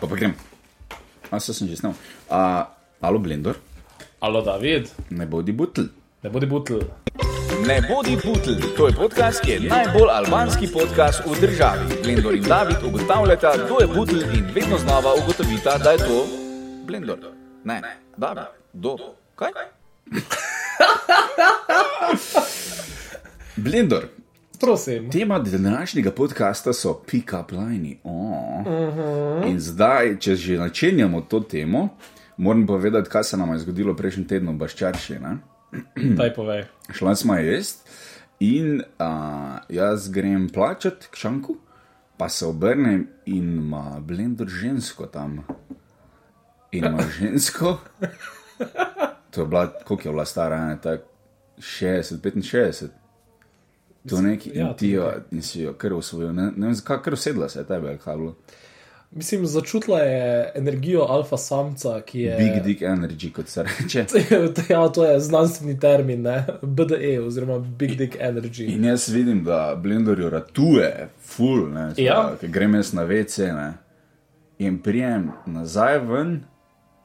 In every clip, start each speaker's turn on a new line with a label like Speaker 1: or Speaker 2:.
Speaker 1: Pa pa grem. A se sem že snel. A, alo, blender,
Speaker 2: Alo, David,
Speaker 1: ne bodi butl.
Speaker 2: ne bodi butl.
Speaker 3: Ne bodi butl, to je podcast, ki je najbolj albanski podcast v državi. Blendor in David ugotavljata, kdo je butl in vedno znova ugotovita, da je to Blendor. Ne, David, do, kaj?
Speaker 1: Blender,
Speaker 2: Prosim.
Speaker 1: tema današnjega podcasta so pick-up lini. Oh. Uh -huh. In zdaj, če že načenjamo to temo, moram povedati, kaj se nam je zgodilo prejšnji teden v Baščarši. Ne?
Speaker 2: Daj povej.
Speaker 1: Šla smo jesti in a, jaz grem plačati k šanku, pa se obrnem in ima blender žensko tam. In ima žensko, to je bila, koliko je bila stara, ne, tak 60, 65. To neki
Speaker 2: ja,
Speaker 1: in ti jo, in si jo kar usvojil, ne, ne vem zakaj, kar usedla se je tebe, ali kaj je bilo.
Speaker 2: Mislim, začutila je energijo alfa samca, ki je.
Speaker 1: Big dick energy, kot se reče.
Speaker 2: ja, to je znanstveni termin, ne? BDE oziroma Big Dick Energy.
Speaker 1: In jaz vidim, da blenderju ratuje, full, ne,
Speaker 2: Ja.
Speaker 1: ker grem jaz na vece, ne, in prijem nazaj ven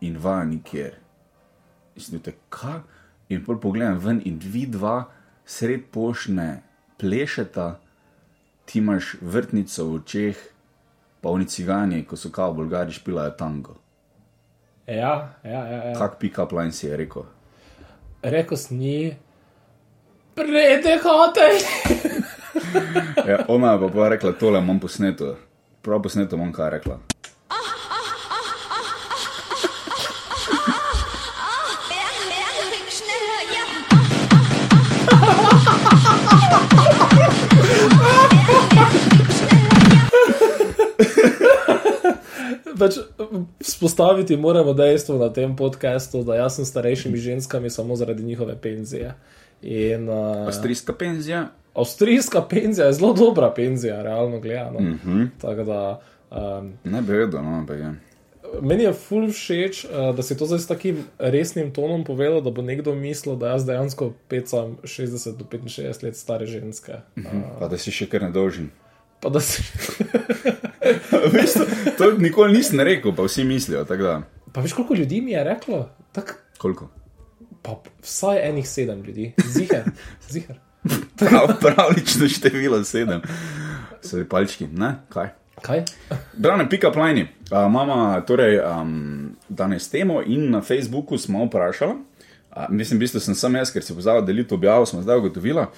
Speaker 1: in va nikjer. Iznite, kaj? In pol pogledam ven in vi dva sred pošne plešeta, ti imaš vrtnico v očeh, pa oni cigani, ko so kao bolgari špilajo tango.
Speaker 2: Ja, ja, ja. ja.
Speaker 1: Kak pika plan si je rekel.
Speaker 2: Rekl sem ji, predehote.
Speaker 1: Ja, ona je pa, pa rekla, tole imam posneto, prav posneto imam kaj rekla.
Speaker 4: Schnell, ja.
Speaker 2: Pač, spostaviti moramo dejstvo na tem podkastu, da jaz sem s starejšimi ženskami samo zaradi njihove penzije. In, uh,
Speaker 1: Avstrijska penzija,
Speaker 2: Avstrijska penzija je zelo dobra penzija, realno gledano. Mm
Speaker 1: Mhm.
Speaker 2: -hmm. Tako da, um,
Speaker 1: Ne bi vedel, no, ampak je.
Speaker 2: meni je ful všeč, uh, da si to zdaj s takim resnim tonom povedal, da bo nekdo mislil, da jaz dejansko pecam 60 do 65 let stare ženske. Uh,
Speaker 1: Pa da si še kar nedolžen.
Speaker 2: pa da si.
Speaker 1: Veš, to, to nikoli nisem rekel, pa vsi mislijo. Tako da,
Speaker 2: Pa veš, koliko ljudi mi je reklo? Tak,
Speaker 1: koliko?
Speaker 2: pa vsaj enih sedem ljudi, ziger, ziger.
Speaker 1: Prav, pravlično število sedem. So bili palčki, ne? Kaj?
Speaker 2: Kaj?
Speaker 1: Brane, pika plajni. Mama, torej um, danes temo in na Facebooku smo vprašali. A, mislim, v bistvu sem sam jaz, ker si pozval deliti objavo, smo zdaj ugotovila.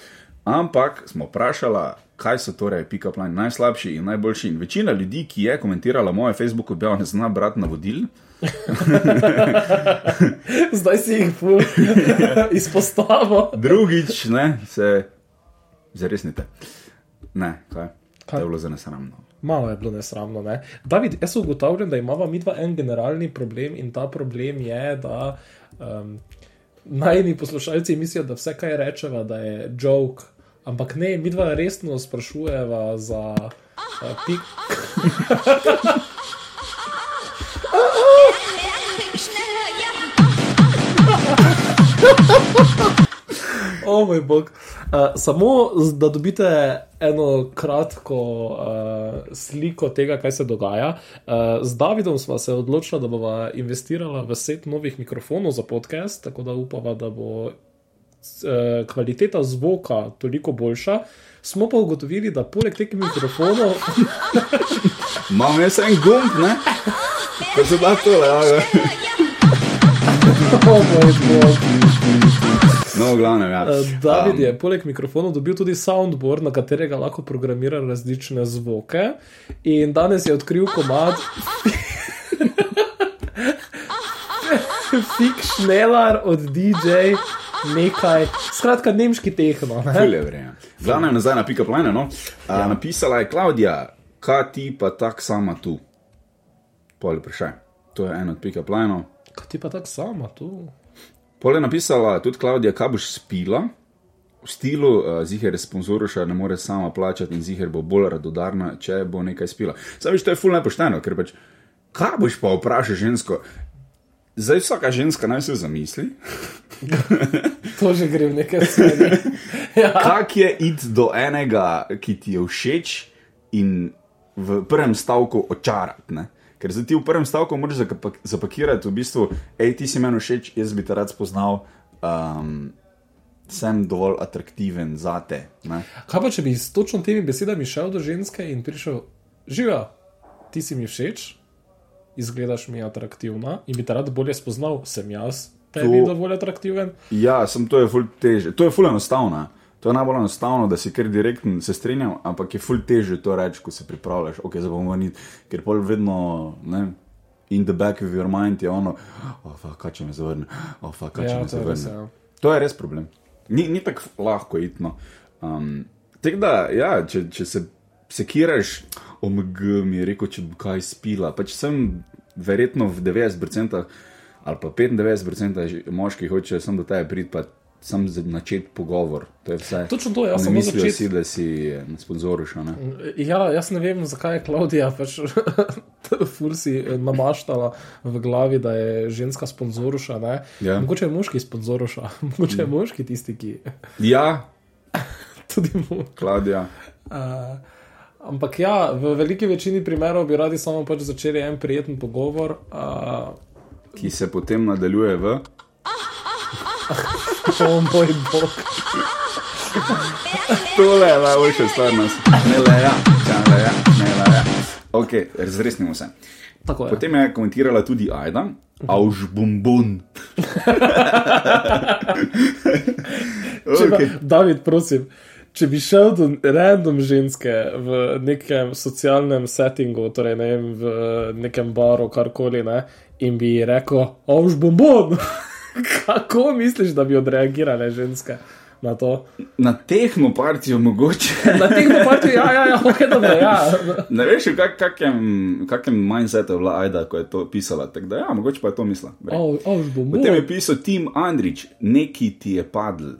Speaker 1: Ampak smo vprašala, kaj so torej pika plajni najslabši in najboljši. In večina ljudi, ki je komentirala moje Facebook objavo, ne zna brati navodil.
Speaker 2: Zdaj si jih ful izpostavil.
Speaker 1: Drugič, ne, se zaresnite. Ne, kaj? To
Speaker 2: Kaj?
Speaker 1: je bilo za nesramno.
Speaker 2: Malo je bilo nesramno. Ne? David, jaz ugotavljam, da imamo mi dva en generalni problem in ta problem je, da um, najni poslušalci mislijo, da vse, kaj rečeva, da je joke, ampak ne, mi dva resno sprašujeva za uh, pik.
Speaker 4: Schnell, ja.
Speaker 2: O moj bog. Uh, samo z- da dobite eno kratko uh, sliko tega, kaj se dogaja. Uh, z Davidom smo se odločili, da bomo investirali v set novih mikrofonov za podcast, tako da upava, da bo s- eh, kvaliteta zvoka toliko boljša. Smo pa ugotovili, da poleg teh mikrofonov
Speaker 1: Imam jaz en gumb, ne? Ko se da tole, ja. ja.
Speaker 2: Oh
Speaker 1: No, v glavnem, ja.
Speaker 2: Eh, David
Speaker 1: Um,
Speaker 2: je poleg mikrofonov dobil tudi soundboard, na katerega lahko programira različne zvoke. In danes je odkril komad. Fik šnelar od DJ, nekaj, skratka, nemški tehno. Ne? Ja.
Speaker 1: Ful je vreje. Glavno je nazaj na pika plajna, no. A, napisala je Klaudija, kaj ti pa tak sama tu? Pol vprašaj. To je en od pika plajnov.
Speaker 2: Kaj ti pa tako sama tu?
Speaker 1: Pol je napisala tudi Klaudija, kaj boš spila. V stilu uh, ziger je sponzorša, ne more sama plačati in ziger bo bolj radodarna, če bo nekaj spila. Zdaj, veš, to je fulno pošteno, ker pač, kaj boš pa vprašal žensko? Zdaj vsaka ženska naj se zamisli,
Speaker 2: To že gre v nekaj smeri. ja.
Speaker 1: kak je id do enega, ki ti je všeč in v prvem stavku očarati. Ne? Ker zdaj ti v prvem stavku moraš zakapa- zapakirati v bistvu, hej, ti si meni všeč, jaz bi te rad spoznal, um, sem dovolj atraktiven za te. Ne?
Speaker 2: Kaj pa, če bi s točno temi besedami šel do ženske in prišel, živa, ti si mi všeč, izgledaš mi atraktivna in bi te rad bolje spoznal, sem jaz, tebi
Speaker 1: To-
Speaker 2: dovolj atraktiven.
Speaker 1: Ja, sem to je ful teže. To je ful enostavno. To je najbolj enostavno, da si kar direktno se strinjam, ampak je ful teže to reči, ko se pripravljaš, ok, zdaj bomo ni, ker pol vedno, ne, in the back of your mind je ono, oh, fuck, kaj če me zavrne, oh, fuck, kaj če
Speaker 2: Ja,
Speaker 1: me
Speaker 2: to je res,
Speaker 1: zavrne.
Speaker 2: ja.
Speaker 1: To je res problem. Ni, ni tako lahko itno. Um, Tek da, ja, če, če se sekiraš, omg, mi je rekel, če bi kaj spila. Pač sem verjetno v 90% ali pa 95% ži- moških hoče sem do tebe priti, pa sem začeti pogovor. To je vse.
Speaker 2: Točno to, ja,
Speaker 1: ne
Speaker 2: samo
Speaker 1: mislijo
Speaker 2: začeti.
Speaker 1: si, da si eh, na sponzoriš. a ne.
Speaker 2: Ja, jaz ne vem, zakaj je Klaudija pač fursi namaštala v glavi, da je ženska sponzoruša. ne.
Speaker 1: Ja. Mm.
Speaker 2: Mogoče je moški sponzoruša, mogoče je moški tisti, ki
Speaker 1: Ja,
Speaker 2: tudi mu.
Speaker 1: Klaudija.
Speaker 2: Uh, ampak ja, v veliki večini primerov bi radi samo pač začeli en prijeten pogovor. Uh,
Speaker 1: Ki se potem nadaljuje v.
Speaker 2: o moj bog.
Speaker 1: Tole je najboljša stvar nas. Ne le ja, ne le ja, ne le ja. Ok, razresnimo se.
Speaker 2: Tako je.
Speaker 1: Potem je komentirala tudi Aida, avž bombon.
Speaker 2: Če pa,
Speaker 1: okay.
Speaker 2: David, prosim, če bi šel do random ženske v nekem socialnem settingu, torej ne vem, v nekem baru, karkoli, ne, in bi ji rekel, ož bombon, kako misliš, da bi odreagirale ženske na to?
Speaker 1: Na tehno partijo mogoče.
Speaker 2: Na teh napadih, ja, ja, ja, ok, dobro, ja.
Speaker 1: Ne veš, v kak, kakem, kakem mindsetu je bila Aida, ko je to pisala. Tako da, ja, mogoče pa je to mislila. Brej.
Speaker 2: Ož, ož bombon.
Speaker 1: Potem je pisal Tim Andrič, neki ti je padl.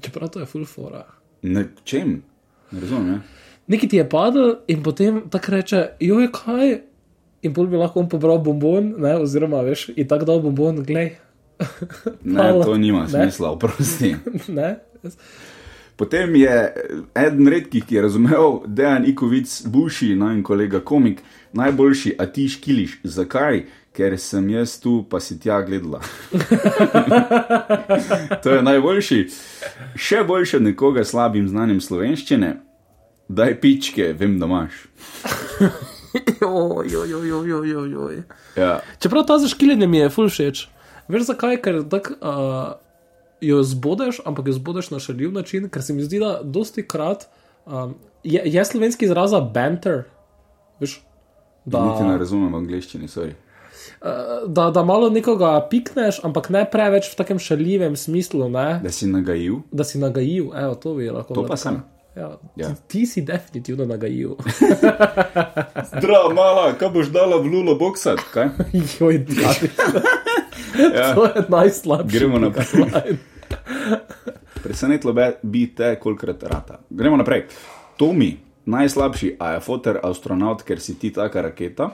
Speaker 2: Čeprav to je full fora.
Speaker 1: Na čem? Ne razumem. Ja?
Speaker 2: Nekaj ti je padel in potem tako reče, joj, kaj. In pol bi lahko on pobral bombon, ne, oziroma veš, in tako dal bombon, glej.
Speaker 1: Ne,
Speaker 2: Hvala.
Speaker 1: to nima
Speaker 2: Ne.
Speaker 1: smisla, oprosti.
Speaker 2: ne?
Speaker 1: Potem je eden redkih, ki je razumel, da je Ikovic, Buši, najmanj kolega komik, najboljši, a ti škiliš. Zakaj? Ker sem jaz tu, pa si tja gledala. to je najboljši. Še boljši od nekoga s slabim znanjem slovenščine. Daj pičke, vem, da imaš.
Speaker 2: Joj, joj, joj, joj, joj, joj.
Speaker 1: Ja,
Speaker 2: Čeprav ta zaškiljenje mi je ful všeč. Veš zakaj, ker tak, uh, jo zbodeš, ampak jo zbodeš na šaljiv način, ker se mi zdi, da dosti krat um, je, je slovenski izraz za banter. Veš, da,
Speaker 1: niti ne razumem v angleščini, sorry.
Speaker 2: da, da malo nekoga pikneš, ampak ne preveč v takem šaljivem smislu, ne?
Speaker 1: Da si nagajil,
Speaker 2: da si nagajil. Evo, to bi lahko
Speaker 1: to
Speaker 2: rekel.
Speaker 1: pa sem.
Speaker 2: Ja,
Speaker 1: Ja.
Speaker 2: ja. Ti, ti si definitivno nagajil.
Speaker 1: Zdravo, mala, kaj boš dala v lulo boksat? Kaj?
Speaker 2: Joj, David,
Speaker 1: Ja.
Speaker 2: to je najslabše.
Speaker 1: Gremo naprej. Presenetilo be- bi te, kolikrat rata. Gremo naprej. Tomi, najslabši, a je foter astronaut, ker si ti taka raketa.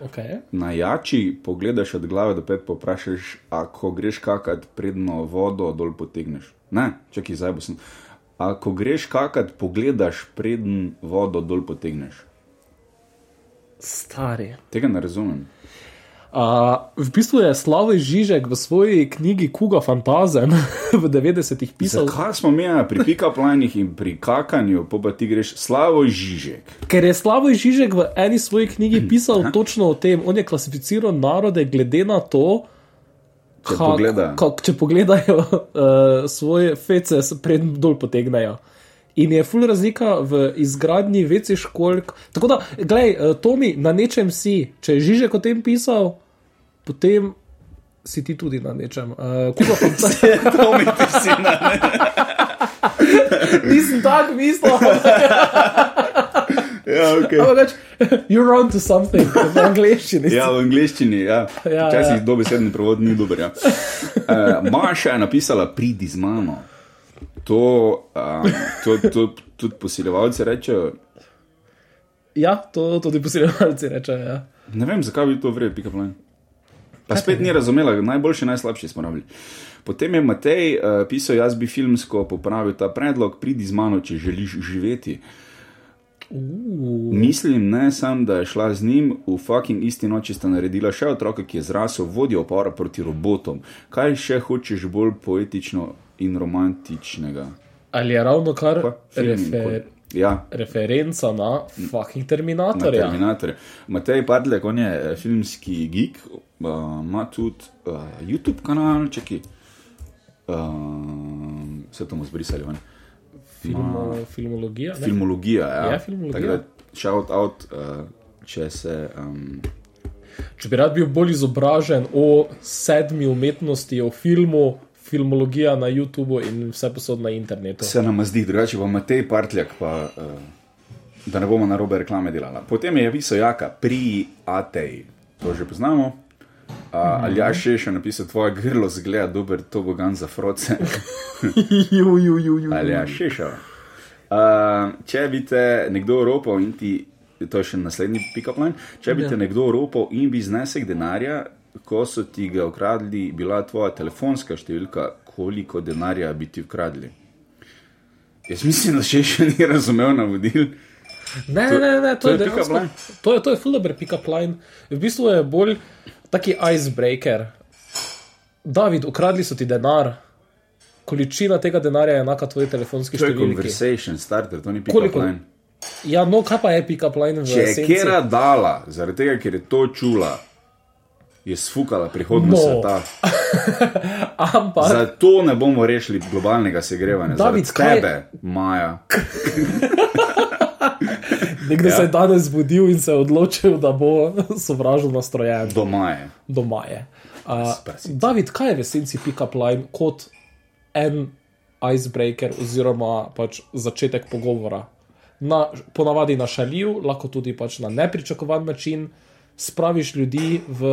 Speaker 2: Okay.
Speaker 1: Najači, pogledaš od glave do pet, poprašaš, ako greš kakat, predno vodo dol potegneš. Ne, čakaj, zdaj bo sem. Ako greš kakat, pogledaš, predn vodo dol potegneš.
Speaker 2: Stari.
Speaker 1: Tega ne razumem.
Speaker 2: Uh, v bistvu je Slavoj Žižek v svoji knjigi Kuga Fantazem v 90-ih pisal,
Speaker 1: Zakaj smo mi ja, pri pikaplajnih in pri kakanju, pa, pa ti greš slavo žižek?
Speaker 2: ker je Slavoj Žižek v eni svoji
Speaker 1: Hm.
Speaker 2: knjigi pisal točno o tem, on je klasificiral narode glede na to,
Speaker 1: Če pogleda.
Speaker 2: kak, če pogledajo uh, svoje fece, predem dol potegnejo. In je ful razlika v izgradnji veci školk. Tako da, glej, eh, Tomi, na nečem si, če je Žižek o tem pisal, potem si ti tudi na nečem. Uh, Kuba Fantazem.
Speaker 1: Tomi, ti si na
Speaker 2: Nisem tako mislil,
Speaker 1: Ja, okay.
Speaker 2: ampak pač, you're on to something v angleščini.
Speaker 1: Ja, v angleščini. Ja.
Speaker 2: Ja,
Speaker 1: Včasih ja.
Speaker 2: ja.
Speaker 1: dobesedni prevod ni dober. Ja. Uh, Maša je napisala: Pridi z mano. To, uh, to, to tudi posiljevalci rečejo.
Speaker 2: ja to tudi posiljevalci rečejo. Ja.
Speaker 1: Ne vem, zakaj bi to vredno, pika plan. Pa spet ni razumela, najboljši, najslabši smo rabili. Potem je Matej uh, pisal: Jaz bi filmsko popravil ta predlog, pridi z mano, če želiš živeti. Mislim, ne samo, da je šla z njim, v fucking isti noči sta naredila še otroka, ki je zrasel vodjo opora proti robotom. Kaj še hočeš bolj poetično in romantičnega?
Speaker 2: Ali je ravno kar
Speaker 1: Pa, film in
Speaker 2: refer,
Speaker 1: pol- ja,
Speaker 2: referenca na fucking
Speaker 1: na
Speaker 2: Terminatorja?
Speaker 1: Terminatorja. Matej Padlek, on je eh, filmski geek, eh, ima tudi eh, YouTube kanal, čeki. Uh, vse to bomo zbrisali ven.
Speaker 2: Filmo, filmologija? ne?
Speaker 1: Filmologija, ja.
Speaker 2: Ja, filmologija.
Speaker 1: Tako da, shout out, uh, če se. Um,
Speaker 2: Če bi rad bil bolj izobražen o sedmi umetnosti, o filmu, filmologija na YouTubu in vse posod na internetu.
Speaker 1: Se nam zdi drugače, pa Matej Partljak, pa, uh, da ne bomo na robe reklame delala. Potem je pisal Jaka, pri Ateji, to že poznamo. Uh,
Speaker 2: Mhm.
Speaker 1: ali ja še še napisal, tvoje grlo zgleda dober tobogan za froce.
Speaker 2: Ju, ju, ju, ju.
Speaker 1: ali ja še še. Uh, če bi te nekdo ropal in ti, to je še naslednji pick-up line, če
Speaker 2: Ja.
Speaker 1: bi te nekdo ropal in bi znesek denarja, ko so ti ga ukradli, bila tvoja telefonska številka, koliko denarja bi ti ukradli? Jaz mislim, da še še ni razumel navodil.
Speaker 2: Ne, ne, ne,
Speaker 1: to
Speaker 2: to, to
Speaker 1: je
Speaker 2: je
Speaker 1: pick-up
Speaker 2: dejansko.
Speaker 1: line.
Speaker 2: To je, to je full dobro pick-up line. V bistvu je bolj taki icebreaker. David, ukradli so ti denar. Količina tega denarja je enaka tvoji telefonski
Speaker 1: To je
Speaker 2: številki.
Speaker 1: conversation starter, to ni pick-up
Speaker 2: Koliko?
Speaker 1: line.
Speaker 2: Ja, no, kaj pa je pick-up line v
Speaker 1: Če je
Speaker 2: esenci?
Speaker 1: kera dala, zaradi tega, ker je to čula, je sfukala prihodnost
Speaker 2: No.
Speaker 1: sveta.
Speaker 2: Ampak,
Speaker 1: Zato ne bomo rešili globalnega segrevanja.
Speaker 2: David,
Speaker 1: Zaradi
Speaker 2: kaj-
Speaker 1: tebe, Maja.
Speaker 2: nekdo se
Speaker 1: ja.
Speaker 2: je danes zbudil in se je odločil, da bo sovražil nastrojen.
Speaker 1: Doma je.
Speaker 2: Doma je. Uh,
Speaker 1: Prasica.
Speaker 2: David, kaj je v esenci pick-up line kot en icebreaker oziroma pač začetek pogovora? Na, ponavadi na šaljiv, lahko tudi pač na nepričakovan način spraviš ljudi v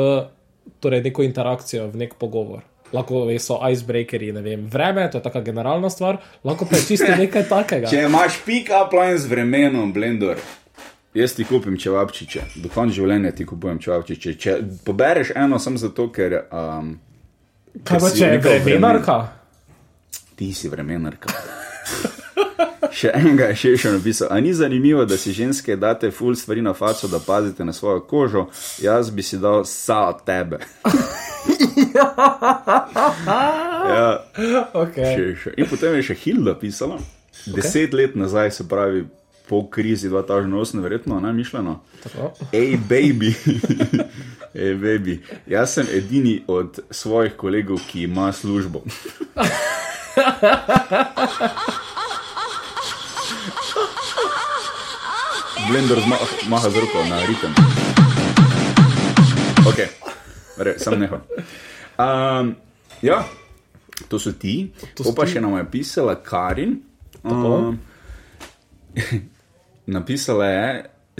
Speaker 2: torej neko interakcijo, v nek pogovor. Lahko so icebreakeri, ne vem, vreme, to je taka generalna stvar, lahko pa je čisto nekaj takega.
Speaker 1: Če imaš pick-up line z vremenom, blender. Jaz ti kupim čevapčiče, do konca življenja ti kupujem čevapčiče. Če pobereš eno, samo zato, ker um,
Speaker 2: Kaj pa
Speaker 1: si
Speaker 2: če je
Speaker 1: rekel
Speaker 2: vremenarka?
Speaker 1: ti si vremenarka. še enega je še še napisal. A ni zanimivo, da si ženske date ful stvari na faco, da pazite na svojo kožo, jaz bi si dal sa od tebe. ja,
Speaker 2: Okay.
Speaker 1: še, še. In potem je še Hilda pisala. Deset let nazaj, se pravi po krizi 2008, verjetno, ne mišljeno.
Speaker 2: Tako.
Speaker 1: Ej, baby. Ej, baby. Jaz sem edini od svojih kolegov, ki ima službo. Blender zma maha z roko na ritem. Ok, Re, sam neham. Um, ja, to so ti. To
Speaker 2: so
Speaker 1: so pa
Speaker 2: ti.
Speaker 1: še nam je pisala Karin. Um, Ehm, Napisala je,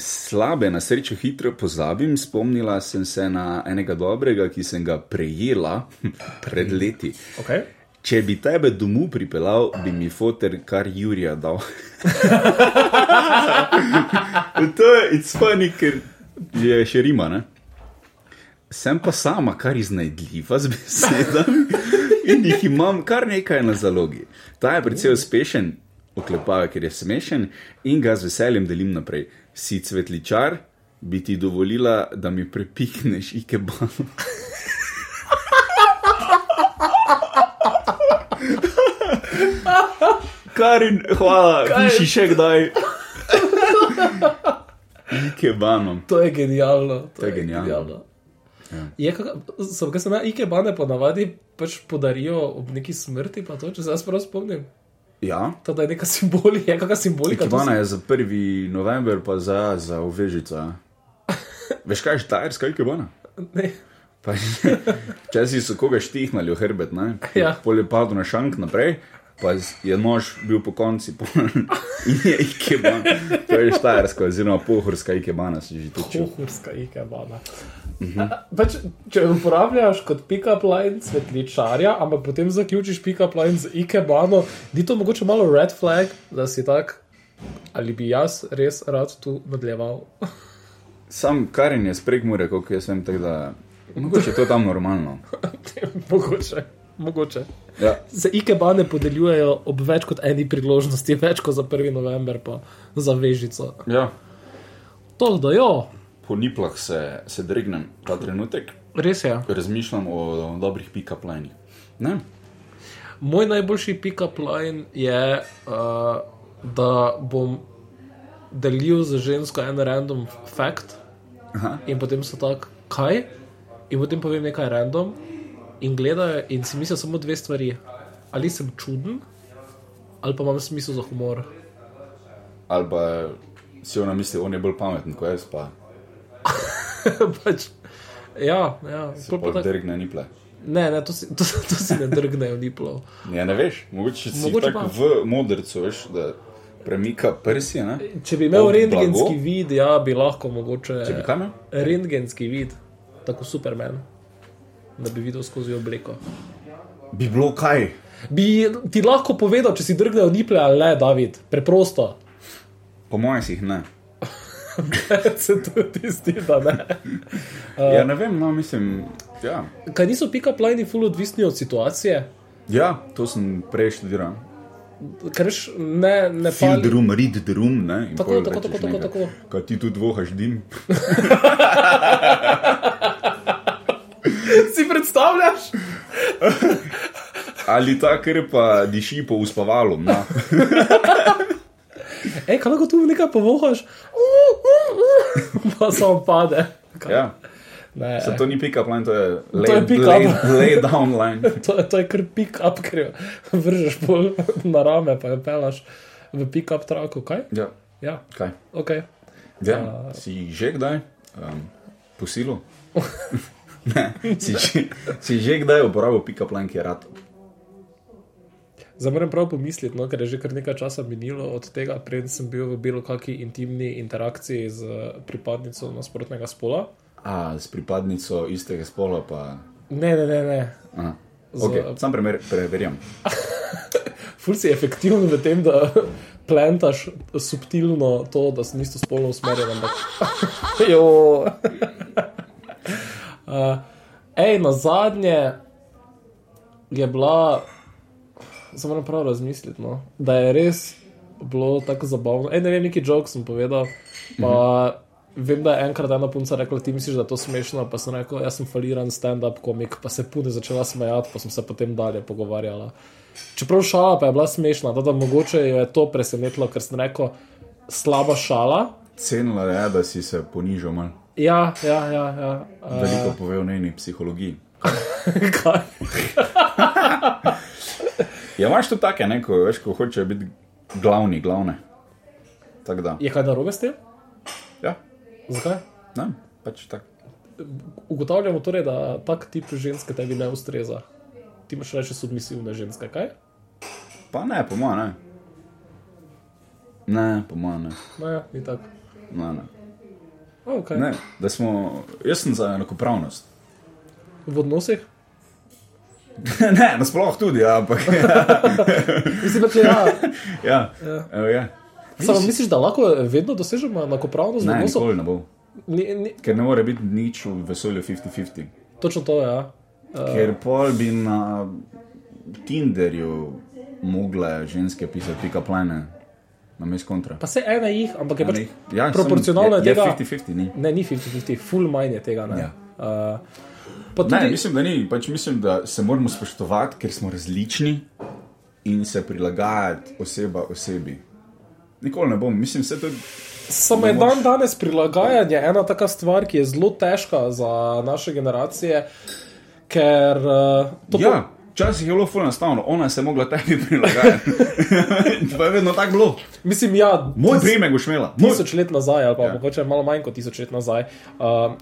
Speaker 1: slabe, na srečo hitro pozabim, spomnila sem se na enega dobrega, ki sem ga prejela pred leti.
Speaker 2: Okay.
Speaker 1: Če bi tebe domov pripeljal, bi mi foter kar Jurija dal. to je it's funny, ker je še rima. Ne? Sem pa sama kar iznajdljiva z besedami in jih imam kar nekaj na zalogi. Ta je precej uspešen, oklepava, ker je smešen in ga z veseljem delim naprej. Si cvetličar, bi ti dovolila, da mi prepihneš ikebano. Karin, hvala, piši še kdaj. Ikebanom.
Speaker 2: To je genialno. To,
Speaker 1: je genialno.
Speaker 2: Ja. Je, kak, sem, kaj sem na Ikebane ponavadi pač podarijo ob neki smrti, pa to, če se jaz prav spomnim.
Speaker 1: Ja.
Speaker 2: To da je neka simbolika, je kakšna simbolika. to
Speaker 1: Ikebana je za 1. november, pa za, za uvežica. Veš kaj je štajerska ikebana?
Speaker 2: sem- Ne,
Speaker 1: Pa, Včasih so koga štihnali v hrbet, ne?
Speaker 2: Ja.
Speaker 1: Pol je padel na šank naprej, pa je nož bil po konci. pol- In je ikebana. To je štajerska, oziroma pohorska ikebana, si že tiče.
Speaker 2: pohurska Ikebana. A, Pač, če uporabljaš kot pick-up line svetličarja, ampak potem zaključiš pick-up line z Ikebano, ni to mogoče malo red flag, da si tak, ali bi jaz res rad tu nadaljeval.
Speaker 1: Sam Karin je sprek mure, koliko jaz vem, tako da. Mogoče je to tam normalno.
Speaker 2: mogoče. mogoče.
Speaker 1: Ja.
Speaker 2: Se ikebane podeljujejo ob več kot eni priložnosti, več kot za 1. november, pa za vežico.
Speaker 1: ja.
Speaker 2: To, da jo,
Speaker 1: Po niplah se, se dregnem ta trenutek,
Speaker 2: res je.
Speaker 1: razmišljam o, o dobrih pick-up linih. Ne?
Speaker 2: Moj najboljši pick-up line je, uh, da bom delil z žensko en random fact Aha. in potem so tak, kaj, in potem povem nekaj random in gledajo in si mislijo samo dve stvari. Ali sem čuden, ali pa imam smisel za humor.
Speaker 1: Ali pa si ona misli, on je bolj pameten kot jaz, pa
Speaker 2: pač, ja, ja.
Speaker 1: se
Speaker 2: pol pa
Speaker 1: pa
Speaker 2: tako-
Speaker 1: drgne niple.
Speaker 2: Ne, ne, to si, to, to si ne drgnejo, ni plov.
Speaker 1: Ja, ne veš, mogoče si mogoče
Speaker 2: Mogoče pa.
Speaker 1: tako v modrcu, veš, da premika prsi. Ne?
Speaker 2: Če bi imel
Speaker 1: Ob
Speaker 2: rentgenski
Speaker 1: blago?
Speaker 2: vid, ja, bi lahko mogoče.
Speaker 1: Če bi kaj imel?
Speaker 2: Rentgenski vid, tako Superman, da bi videl skozi obleko.
Speaker 1: Bi bilo kaj.
Speaker 2: Bi ti lahko povedal, če si drgnil niple ali ne, David, preprosto.
Speaker 1: Po mojem si jih ne.
Speaker 2: Se tudi zdi, da ne. Eh.
Speaker 1: Ja, ne vem, no, mislim. Ja.
Speaker 2: Kaj niso pika plajni ful odvisni od situacije?
Speaker 1: ja, to sem prej študiral.
Speaker 2: Ker veš, ne, ne
Speaker 1: Feel the
Speaker 2: pali.
Speaker 1: room, read the room. Ne? in pol
Speaker 2: Tako, tako,
Speaker 1: rečeš
Speaker 2: tako, tako,
Speaker 1: nekaj,
Speaker 2: tako.
Speaker 1: Kaj ti tu dvohaš dim?
Speaker 2: Si predstavljaš?
Speaker 1: Ali ta kar pa diši po no. uspavalu. na.
Speaker 2: Ej, kaj lahko tu nekaj povohaš? Pa samo pade. Kaj?
Speaker 1: Ja.
Speaker 2: Ne,
Speaker 1: Se to ni pick up line, to je lay,
Speaker 2: je pick up.
Speaker 1: lay, lay down line.
Speaker 2: To, to je kar pick-up, ker jo vržeš bolj na rame, pa jo pelaš v pick-up traku. Kaj?
Speaker 1: Ja,
Speaker 2: Ja,
Speaker 1: kaj?
Speaker 2: ok. Uh.
Speaker 1: Ja, si že kdaj um, posilo? ne, si, že- si že kdaj uporabil pick up line, ki je rad.
Speaker 2: Zdaj moram prav pomisliti, no, ker je že kar nekaj časa minilo od tega, preden sem bil v bilo kakšni intimni interakciji z pripadnico nasprotnega spola.
Speaker 1: A s pripadnico istega spola pa.
Speaker 2: Ne, ne, ne, ne.
Speaker 1: Aha. Okay, sam primer preverjam.
Speaker 2: Ful si efektiven v tem, da plantaš subtilno to, da si nisi spolno usmerjen. Ampak... Jo. uh, ej, na zadnje je bila, se moram prav razmisliti, no? da je res bilo tako zabavno. Ej, ne vem, neki jok sem povedal. Pa, Vem, da je enkrat ena punca rekla, ti misliš, da je to smešno, pa sem rekel, jaz sem faliran stand-up komik, pa se pune začela smejati, pa sem se potem dalje pogovarjala. Čeprav šala pa je bila smešna, da, da mogoče jo je to presenetilo, ker sem rekel, slaba šala.
Speaker 1: Cenila je, da si se ponižal malo.
Speaker 2: Ja, ja, ja. ja.
Speaker 1: Veliko pove o njeni psihologiji.
Speaker 2: Uh, kaj?
Speaker 1: Ja, imaš tu take, ne, ko, veš, ko hočejo biti glavni, glavne. Tako da.
Speaker 2: je kaj narobe s tem?
Speaker 1: Ja,
Speaker 2: Zakaj?
Speaker 1: ne, pač tako.
Speaker 2: Ugotavljamo torej, da tak tip ženske tebi ne ustreza. Ti imaš reči submisivna ženska, kaj?
Speaker 1: Pa ne, po mojem, ne. Ne, po mojem, ne.
Speaker 2: No, ja, ni tako.
Speaker 1: Ne, ne.
Speaker 2: Okay.
Speaker 1: Ne, da smo, jaz sem za enakopravnost.
Speaker 2: V odnosih?
Speaker 1: ne, nasploh tudi, ja, ampak.
Speaker 2: Mislim, da ja.
Speaker 1: ja, ja. ja.
Speaker 2: Samo misliš, da lahko vedno dosežemo enakopravnost v
Speaker 1: Ne,
Speaker 2: odnosu?
Speaker 1: nikoli ne bo.
Speaker 2: Ni, ni,
Speaker 1: Ker ne more biti nič v vesolju 50-50.
Speaker 2: točno to, ja.
Speaker 1: Ker pol bi na Tinderju mogle ženske pisati pika plane, na mes kontra.
Speaker 2: Pa se ena jih, ampak je pač
Speaker 1: Ne, Ja,
Speaker 2: proporcionalno
Speaker 1: sem, je, je
Speaker 2: tega.
Speaker 1: 50-50, ni.
Speaker 2: Ne, ni 50-50, full manj je tega. Ne.
Speaker 1: Ja.
Speaker 2: Uh, pa tudi,
Speaker 1: Ne, mislim, da ni. Pač mislim, da se moramo spoštovati, ker smo različni in se prilagajati oseba osebi. Nikoli ne bom, mislim, vse to.
Speaker 2: samo je dan danes prilagajanje ena taka stvar, ki je zelo težka za naše generacije, ker uh, to
Speaker 1: Ja, včasih je bilo fulno enostavno, ona se je mogla tebi prilagajati. pa je vedno tako bilo.
Speaker 2: po- mislim, ja,
Speaker 1: Moj
Speaker 2: tis-
Speaker 1: primek boš imela. Moj...
Speaker 2: tisoč let nazaj, ali pa ja.
Speaker 1: Ja.
Speaker 2: mogoče malo manj kot tisoč let nazaj. Uh,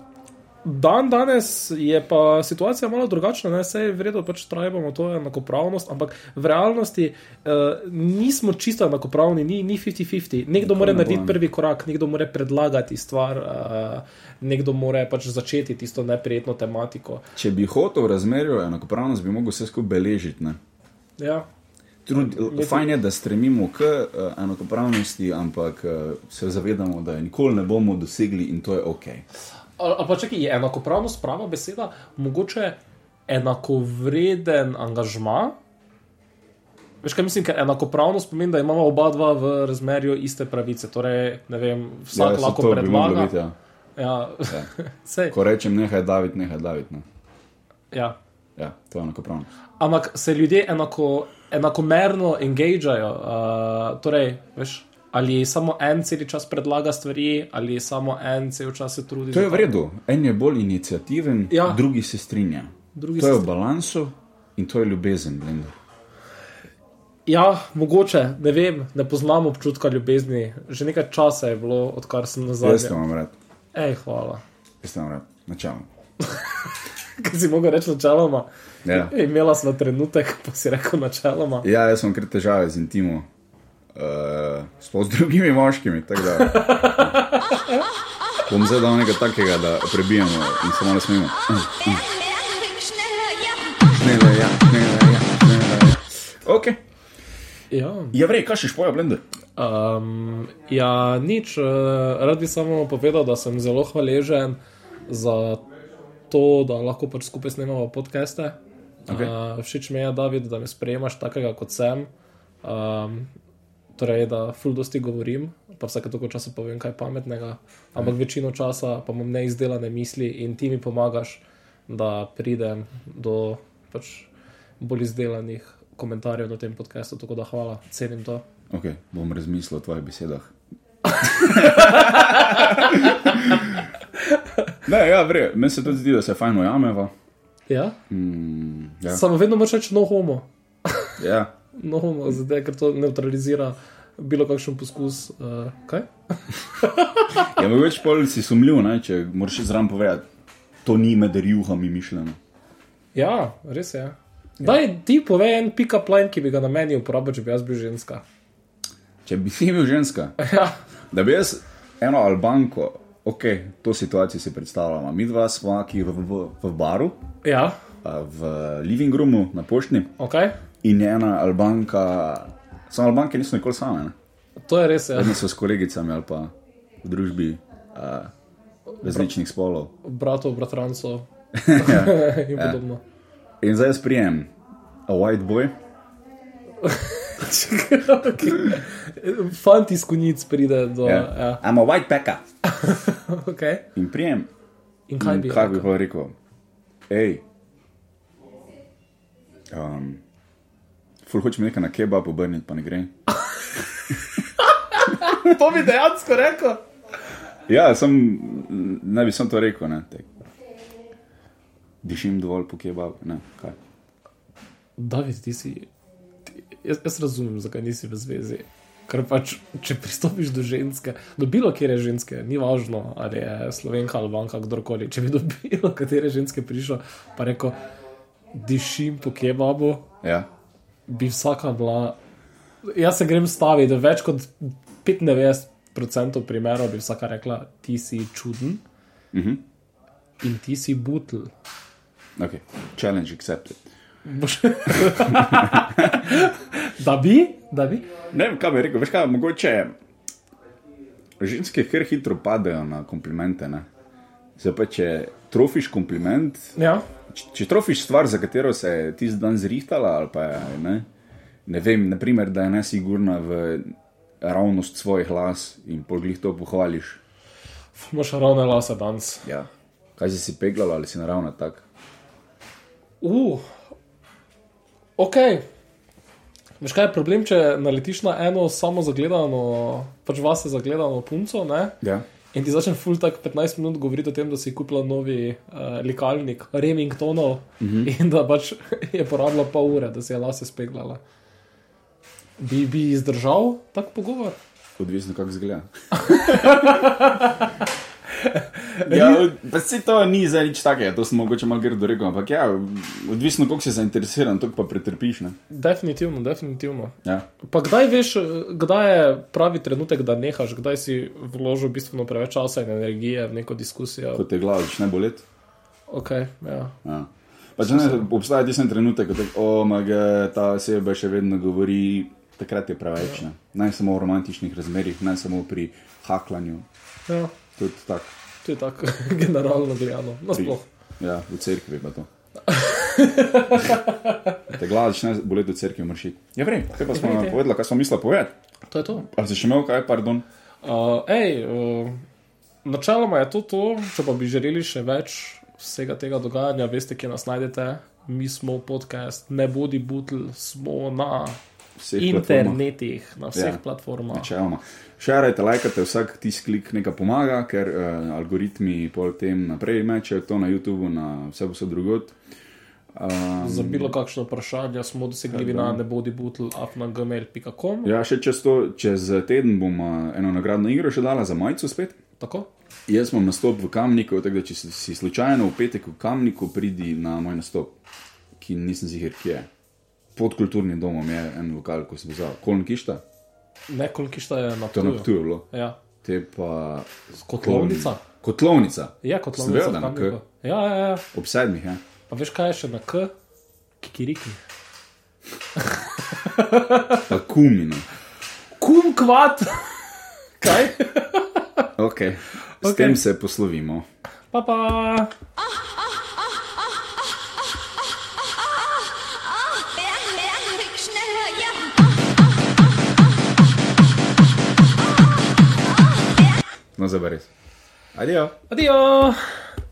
Speaker 2: Dan danes je pa situacija malo drugačna, ne vse je vredno, pač trajamo to enakopravnost, ampak v realnosti uh, nismo čisto enakopravni, ni ni 50-50. Nekdo mora
Speaker 1: ne bo,
Speaker 2: narediti
Speaker 1: ne.
Speaker 2: prvi korak, nekdo mora predlagati stvar, uh, nekdo mora pač začeti tisto neprijetno tematiko.
Speaker 1: Če bi hotel razmerju enakopravnost, bi mogel vse skupaj beležiti. ne.
Speaker 2: Ja.
Speaker 1: Trud, fajn je, da stremimo k eh, enakopravnosti, ampak eh, se zavedamo, da je nikoli ne bomo dosegli in to je ok.
Speaker 2: Ali ali pa čakaj, je enakopravnost prava beseda, mogoče enakovreden angažma. Veš, kaj mislim, ker enakopravnost pomeni, da imamo oba dva v razmerju iste pravice. Torej, ne vem, vsak
Speaker 1: Ja, saj
Speaker 2: lahko
Speaker 1: to bi moglo
Speaker 2: predlaga.
Speaker 1: biti, ja.
Speaker 2: ja. Sej,
Speaker 1: Ko rečem nekaj, David, nekaj, David. Ne.
Speaker 2: ja.
Speaker 1: no. Ja, to je enakopravno.
Speaker 2: Ampak se ljudje enako, enakomerno engageajo. Uh, torej, veš, ali samo en cel čas predlaga stvari, ali samo en cel čas se trudi.
Speaker 1: To je
Speaker 2: za-
Speaker 1: v redu. En je bolj inicijativen,
Speaker 2: Ja.
Speaker 1: drugi se strinja.
Speaker 2: Drugi
Speaker 1: to
Speaker 2: se
Speaker 1: je v
Speaker 2: strinja.
Speaker 1: balansu in to je ljubezen. Blender.
Speaker 2: Ja, mogoče, ne vem, ne poznam občutka ljubezni. Že nekaj časa je bilo, odkar sem nazaj.
Speaker 1: Jaz te imam rad,
Speaker 2: Ej, hvala.
Speaker 1: jaz te imam rad, načelno.
Speaker 2: Kaj si mogel reči načeloma?
Speaker 1: Ja.
Speaker 2: Imela sem na trenutek, pa si rekel načeloma.
Speaker 1: Ja, jaz sem kar težave z intimom, uh, sploh z drugimi moškimi. tako Da, ja. bom zdaj dal nekaj takega, da prebijemo in samo ne smemo.
Speaker 4: schneller, ja.
Speaker 1: Ne, ne, ja, ne, ne, ja, ne, ne. Ok.
Speaker 2: Ja.
Speaker 1: Ja, vrej, kaj še špoja, blender.
Speaker 2: Um, ja, nič. eh, Rad bi samo povedal, da sem zelo hvaležen za to, da lahko pač skupaj snemamo podcaste.
Speaker 1: Okej.
Speaker 2: Uh, všeč mi je, David, da me sprejemaš takega, kot sem. Um, torej, da fuldošti govorim, pa vsake toliko časa povem kaj pametnega, ampak večino časa pa imam neizdelane misli in ti mi pomagaš, da pridem do pač bolj izdelanih komentarjev na tem podkastu. Tako da hvala, cenim to.
Speaker 1: Ok, bom razmislil o tvojih besedah. ne, ja, vrej, meni se tudi zdi, da se fajn ujameva.
Speaker 2: Ja?
Speaker 1: Mm, ja,
Speaker 2: Samo vedno moraš reči no homo,
Speaker 1: ja.
Speaker 2: no homo, zdaj, ker to neutralizira bilo kakšen poskus. Uh, kaj?
Speaker 1: ja več pol si sumljiv, ne, če moraš zraven povedati, to ni med rjuhami mišljeno.
Speaker 2: Ja, res je. Daj ti povej en pika plan, ki bi ga na meni uporabil, če bi jaz bil ženska.
Speaker 1: Če bi ti bil ženska,
Speaker 2: Ja,
Speaker 1: da bi jaz eno albanko, ok, to situacijo si predstavljamo. Mi dva smo ki v, v, v baru,
Speaker 2: ja.
Speaker 1: a, v living roomu na poštni
Speaker 2: ok.
Speaker 1: in je ena albanka, samo albanke niso nikoli same. Ne.
Speaker 2: To je res, ja.
Speaker 1: Vedno so s kolegicami ali pa v družbi uh, različnih spolov.
Speaker 2: bratov, bratrancov
Speaker 1: Ja.
Speaker 2: in podobno.
Speaker 1: In zdaj jaz prijem, a white boy,
Speaker 2: okay. Fant iz konic pride do.
Speaker 1: yeah.
Speaker 2: Ja.
Speaker 1: I'm a white peka.
Speaker 2: Ja. Okay.
Speaker 1: In prijem,
Speaker 2: In kaj
Speaker 1: in
Speaker 2: bi?
Speaker 1: kaj bi
Speaker 2: rekel?
Speaker 1: pa rekel? Hej, um, ful hočem nekaj na kebab obrniti, pa ne gre.
Speaker 2: to bi dejansko rekel.
Speaker 1: Ja, sem, m, ne bi sem to rekel, ne. Tek. Dišim dovolj po kebabu, ne, kaj.
Speaker 2: David, ti si. Ti, jaz, jaz razumem, zakaj nisi v zvezi. Ker pač, če pristopiš do ženske, do bilo kjer ženske, ni važno, ali je slovenka, albanka, kdorkoli. Če bi do bilo katere ženske prišel, pa rekel, dišim po kebabu,
Speaker 1: Ja.
Speaker 2: bi vsaka bila. Jaz se grem staviti, da več kot 95% primerov bi vsaka rekla, ti si čuden
Speaker 1: Mhm.
Speaker 2: in ti si butl.
Speaker 1: Okay. Challenge accepted.
Speaker 2: Boš- da bi, da bi.
Speaker 1: Ne vem, kaj bi rekel. Veš kaj, mogoče ženske kar hitro padejo na komplimente. Ne? Zdaj pa, če trofiš kompliment,
Speaker 2: Ja.
Speaker 1: če, če trofiš stvar, za katero se je ti dan zrihtala, ali pa je, ne, ne vem, naprimer, da je nesigurna v ravnost svojih las in poglih to pohvališ.
Speaker 2: Imaš ravne lase danes.
Speaker 1: Ja. Kaj si si peglala ali si naravna tak?
Speaker 2: Uh, ok. Veš kaj je problem, če naletiš na eno samo zagledano, pač vase zagledano punco, ne?
Speaker 1: Ja.
Speaker 2: In ti začne full tak 15 minut govoriti o tem, da si kupila novi uh, likalnik Remingtonov uh -huh. in da pač je porabila pol ure, da si je lase speglala. Bi, bi izdržal tak pogovor?
Speaker 1: Odvisno, kako zgleda. ja, pa se to ni za nič takega, to sem mogoče malo grdo rekel, ampak ja, odvisno, koliko si zainteresiran, to pa pretrpiš. Ne?
Speaker 2: Definitivno, definitivno.
Speaker 1: Ja.
Speaker 2: Pa kdaj veš, eh, kdaj je pravi trenutek, da nehaš, kdaj si vložil bistveno preveč časa in energije v neko diskusijo?
Speaker 1: Ko te glava začne boleti.
Speaker 2: Okay, ja.
Speaker 1: Ja. Pač, ne, obstaja tisti en trenutek, ko tako, oh, moj bog, ta oseba še vedno govori, takrat je preveč. Ne, ne samo v romantičnih razmerih, ne samo pri haklanju,
Speaker 2: ja,
Speaker 1: tudi tako.
Speaker 2: No, to je tako generalno gledano, nasploh.
Speaker 1: Ja, v cerkvi pa to. Te glava začne boleti od cerkve, mršik. Ja, prej, kaj pa smo vam povedali, kaj smo mislili povedati?
Speaker 2: To je to.
Speaker 1: Ali si še imel kaj, pardon?
Speaker 2: Uh, ej, uh, načeloma je to to, če pa bi želeli še več vsega tega dogajanja, veste, kje nas najdete. Mi smo podcast, ne bodi butl, smo na
Speaker 1: Vseh
Speaker 2: internetih, na vseh
Speaker 1: Ja.
Speaker 2: ja. platformah.
Speaker 1: Načeloma. Šarajte, lajkate, vsak tisti klik nekaj pomaga, ker uh, algoritmi pol tem naprej mečejo to na YouTubu, na vse vse drugot. Uh,
Speaker 2: Za bilo kakšno vprašanje smo dosegljivi na nebodibutl.afnagmail.com.
Speaker 1: ja, še čez, to, čez teden bom uh, eno nagradno igro še dala za majico spet.
Speaker 2: Tako?
Speaker 1: Jaz imam nastop v Kamniku, tako da če si- si slučajno v petek v Kamniku, pridi na moj nastop, ki nisem ziger, kje je. Pod kulturnim domom je en lokal, ko sem vzal, kolon kišta,
Speaker 2: Ne, koliko šta je na
Speaker 1: to je na
Speaker 2: Ptuju.
Speaker 1: Ptuju bilo,
Speaker 2: Ja,
Speaker 1: te pa
Speaker 2: kotlovnica.
Speaker 1: Koln- Kotlovnica,
Speaker 2: Ja, kot
Speaker 1: Sem
Speaker 2: lovnica.
Speaker 1: vedel, da na K.
Speaker 2: kamnikov. Ja, ja, ja.
Speaker 1: ob sedmih, ja.
Speaker 2: Pa veš, kaj je še na K? Kikiriki.
Speaker 1: pa kumino.
Speaker 2: Kum kvat! Kaj?
Speaker 1: Okay. S
Speaker 2: Okej.
Speaker 1: okay. tem se poslovimo.
Speaker 2: Pa pa!
Speaker 4: Ja, ja, schneller, ja.
Speaker 1: No, za res. Adijo.
Speaker 2: Adijo!